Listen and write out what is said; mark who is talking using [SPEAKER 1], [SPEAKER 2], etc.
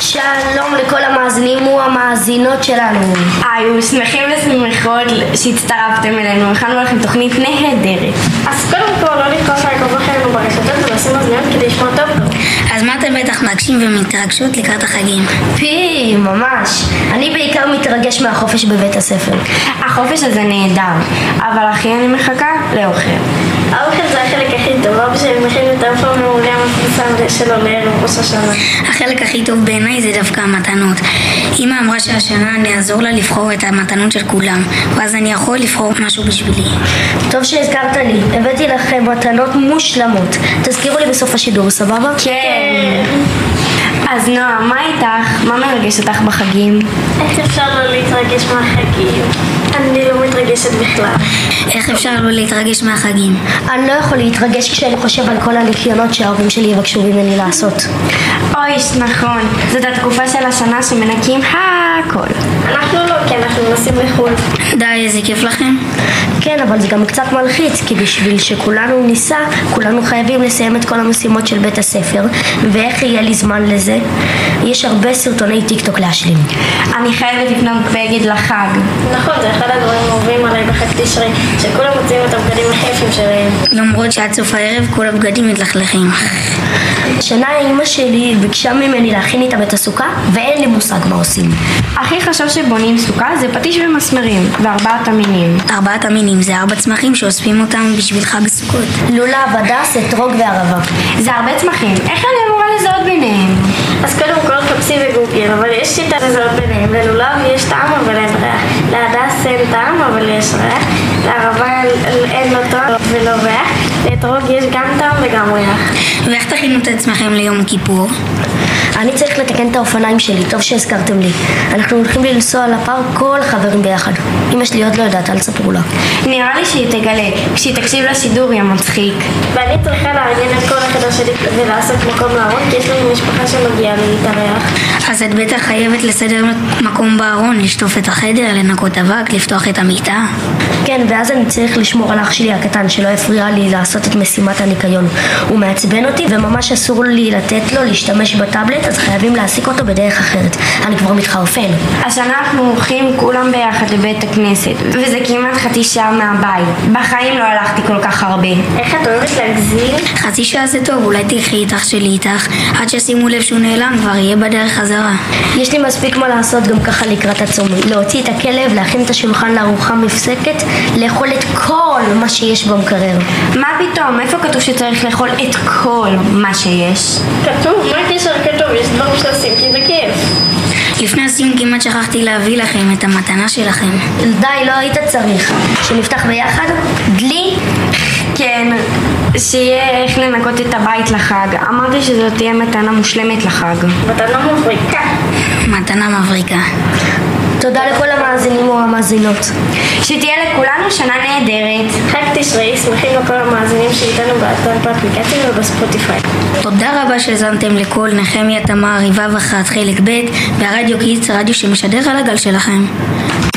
[SPEAKER 1] שלום לכל המאזינים והמאזינות שלנו.
[SPEAKER 2] היו שמחים ושמחות שהצטרפתם אלינו, הכנו לכם תוכנית נהדרת.
[SPEAKER 3] אז קודם כל לא לתקוף לעקוב אחרינו ברשתות ולשים אוזניות כדי לשמוע טוב טוב.
[SPEAKER 4] אז מה אתם בטח מרגשים ומתרגשות לקראת החגים?
[SPEAKER 1] פי, ממש. אני בעיקר מתרגש מהחופש בבית הספר.
[SPEAKER 2] החופש הזה נהדר, אבל הכי אני מחכה לאוכל.
[SPEAKER 3] האוכל זה החלק הכי טוב, אבא שלי מכין את האוכל המעולה המפורסם שלו לערב ראש השנה.
[SPEAKER 4] החלק הכי טוב בעיניי זה דווקא המתנות. אמא אמרה שהשנה אני אעזור לה לבחור את המתנות של כולם, ואז אני יכול לבחור משהו בשבילי.
[SPEAKER 1] טוב שהזכרת לי, הבאתי לכם מתנות מושלמות. תזכירו לי בסוף השידור, סבבה?
[SPEAKER 2] כן. אז נועה, מה איתך? מה מרגש אותך בחגים?
[SPEAKER 3] איך אפשר לא להתרגש מהחגים? אני לא מתרגשת בכלל.
[SPEAKER 4] איך אפשר לא להתרגש מהחגים?
[SPEAKER 1] אני לא יכול להתרגש כשאני חושב על כל הניקיונות שההורים שלי יבקשו ממני לעשות.
[SPEAKER 2] אוי, נכון, זאת התקופה של השנה שמנקים הכל.
[SPEAKER 3] אנחנו לא, כי אנחנו נוסעים לחו"ל.
[SPEAKER 4] די, איזה כיף לכם?
[SPEAKER 1] כן, אבל זה גם קצת מלחיץ, כי בשביל שכולנו ניסע, כולנו חייבים לסיים את כל המשימות של בית הספר, ואיך יהיה לי זמן לזה? יש הרבה סרטוני טיקטוק להשלים.
[SPEAKER 2] אני חייבת לקנות בגד לחג.
[SPEAKER 3] נכון, זה אחד הדברים האהובים עליי בחג תשרי, שכולם מוצאים את הבגדים הכי יפים שלהם.
[SPEAKER 4] למרות שעד סוף הערב כל הבגדים מתלכלכים.
[SPEAKER 1] השנה אימא שלי ביקשה ממני להכין איתם את הסוכה, ואין לי מושג מה עושים.
[SPEAKER 2] הכי חשוב שבונים סוכה זה פטיש ומסמרים, וארבעת המינים.
[SPEAKER 4] ארבעת המינים זה ארבע צמחים שאוספים אותם בשביל חג סוכות.
[SPEAKER 1] לולב, הדס, אתרוג וערבה.
[SPEAKER 2] זה הרבה צמחים, איך אני אמורה לזהות ביניהם?
[SPEAKER 3] אז קודם כל חפשי בגוגל, אבל יש שיטה לזהות ביניהם. ללולב יש טעם אבל אין ריח. להדס אין טעם אבל יש ריח. לערבה אין- אין לא טעם ולא ריח. לאתרוג יש גם טעם וגם ריח.
[SPEAKER 4] ואיך תכינו את עצמכם ליום כיפור?
[SPEAKER 1] אני צריך לתקן את האופניים שלי, טוב שהזכרתם לי. אנחנו הולכים לנסוע לפארק כל החברים ביחד. אמא שלי עוד לא יודעת, אל תספרו לה.
[SPEAKER 2] נראה לי שהיא תגלה, כשהיא תקשיב לשידור יהיה מצחיק.
[SPEAKER 3] ואני צריכה לארגן את כל החדר שלי ולעשות מקום לארון, כי יש לנו משפחה שמגיעה להתארח.
[SPEAKER 4] אז את בטח חייבת לסדר מקום בארון, לשטוף את החדר, לנקות אבק, לפתוח את המיטה.
[SPEAKER 1] כן, ואז אני צריך לשמור על אח שלי הקטן, שלא הפריע לי לעשות את משימת הניקיון. הוא מעצבן אותי, וממש אסור לי לתת לו להשתמש בטאבלט, אז חייבים להעסיק אותו בדרך אחרת. אני כבר מתחרפן.
[SPEAKER 2] השנה אנחנו הולכים כולם ביחד לבית הכנסת, וזה כמעט חצי שעה מהבית. בחיים לא הלכתי כל כך הרבה.
[SPEAKER 3] איך את אוהבת להגזים?
[SPEAKER 4] חצי שעה זה טוב, אולי תלכי איתך שלי איתך, עד שישימו לב שהוא נעלם, כבר יהיה בדרך חזרה.
[SPEAKER 1] יש לי מספיק מה לעשות גם ככה לקראת הצום. להוציא את הכלב, להכין את השולחן לארוחה מפסקת, לאכול את כל מה שיש במקרר.
[SPEAKER 2] מה פתאום, איפה כתוב שצריך לאכול את כל מה שיש?
[SPEAKER 3] כתוב, מה הקשר כתוב? יש דברים שעושים כי זה כיף.
[SPEAKER 4] לפני הסיום כמעט שכחתי להביא לכם את המתנה שלכם.
[SPEAKER 1] די, לא היית צריך. שנפתח ביחד? דלי?
[SPEAKER 2] כן, שיהיה איך לנקות את הבית לחג. אמרתי שזאת תהיה מתנה מושלמת לחג.
[SPEAKER 3] מתנה מבריקה.
[SPEAKER 4] מתנה מבריקה.
[SPEAKER 1] תודה לכל המאזינים והמאזינות.
[SPEAKER 2] שתהיה לכולנו שנה נהדרת.
[SPEAKER 3] חג תשרי, שמחים לכל המאזינים שאיתנו באתר באפליקציה ובספוטיפיי.
[SPEAKER 4] תודה רבה שהאזנתם לקול נחמיה תמר, ריבה וחת, חלק ב', והרדיו קיץ, הרדיו שמשדר על הגל שלכם.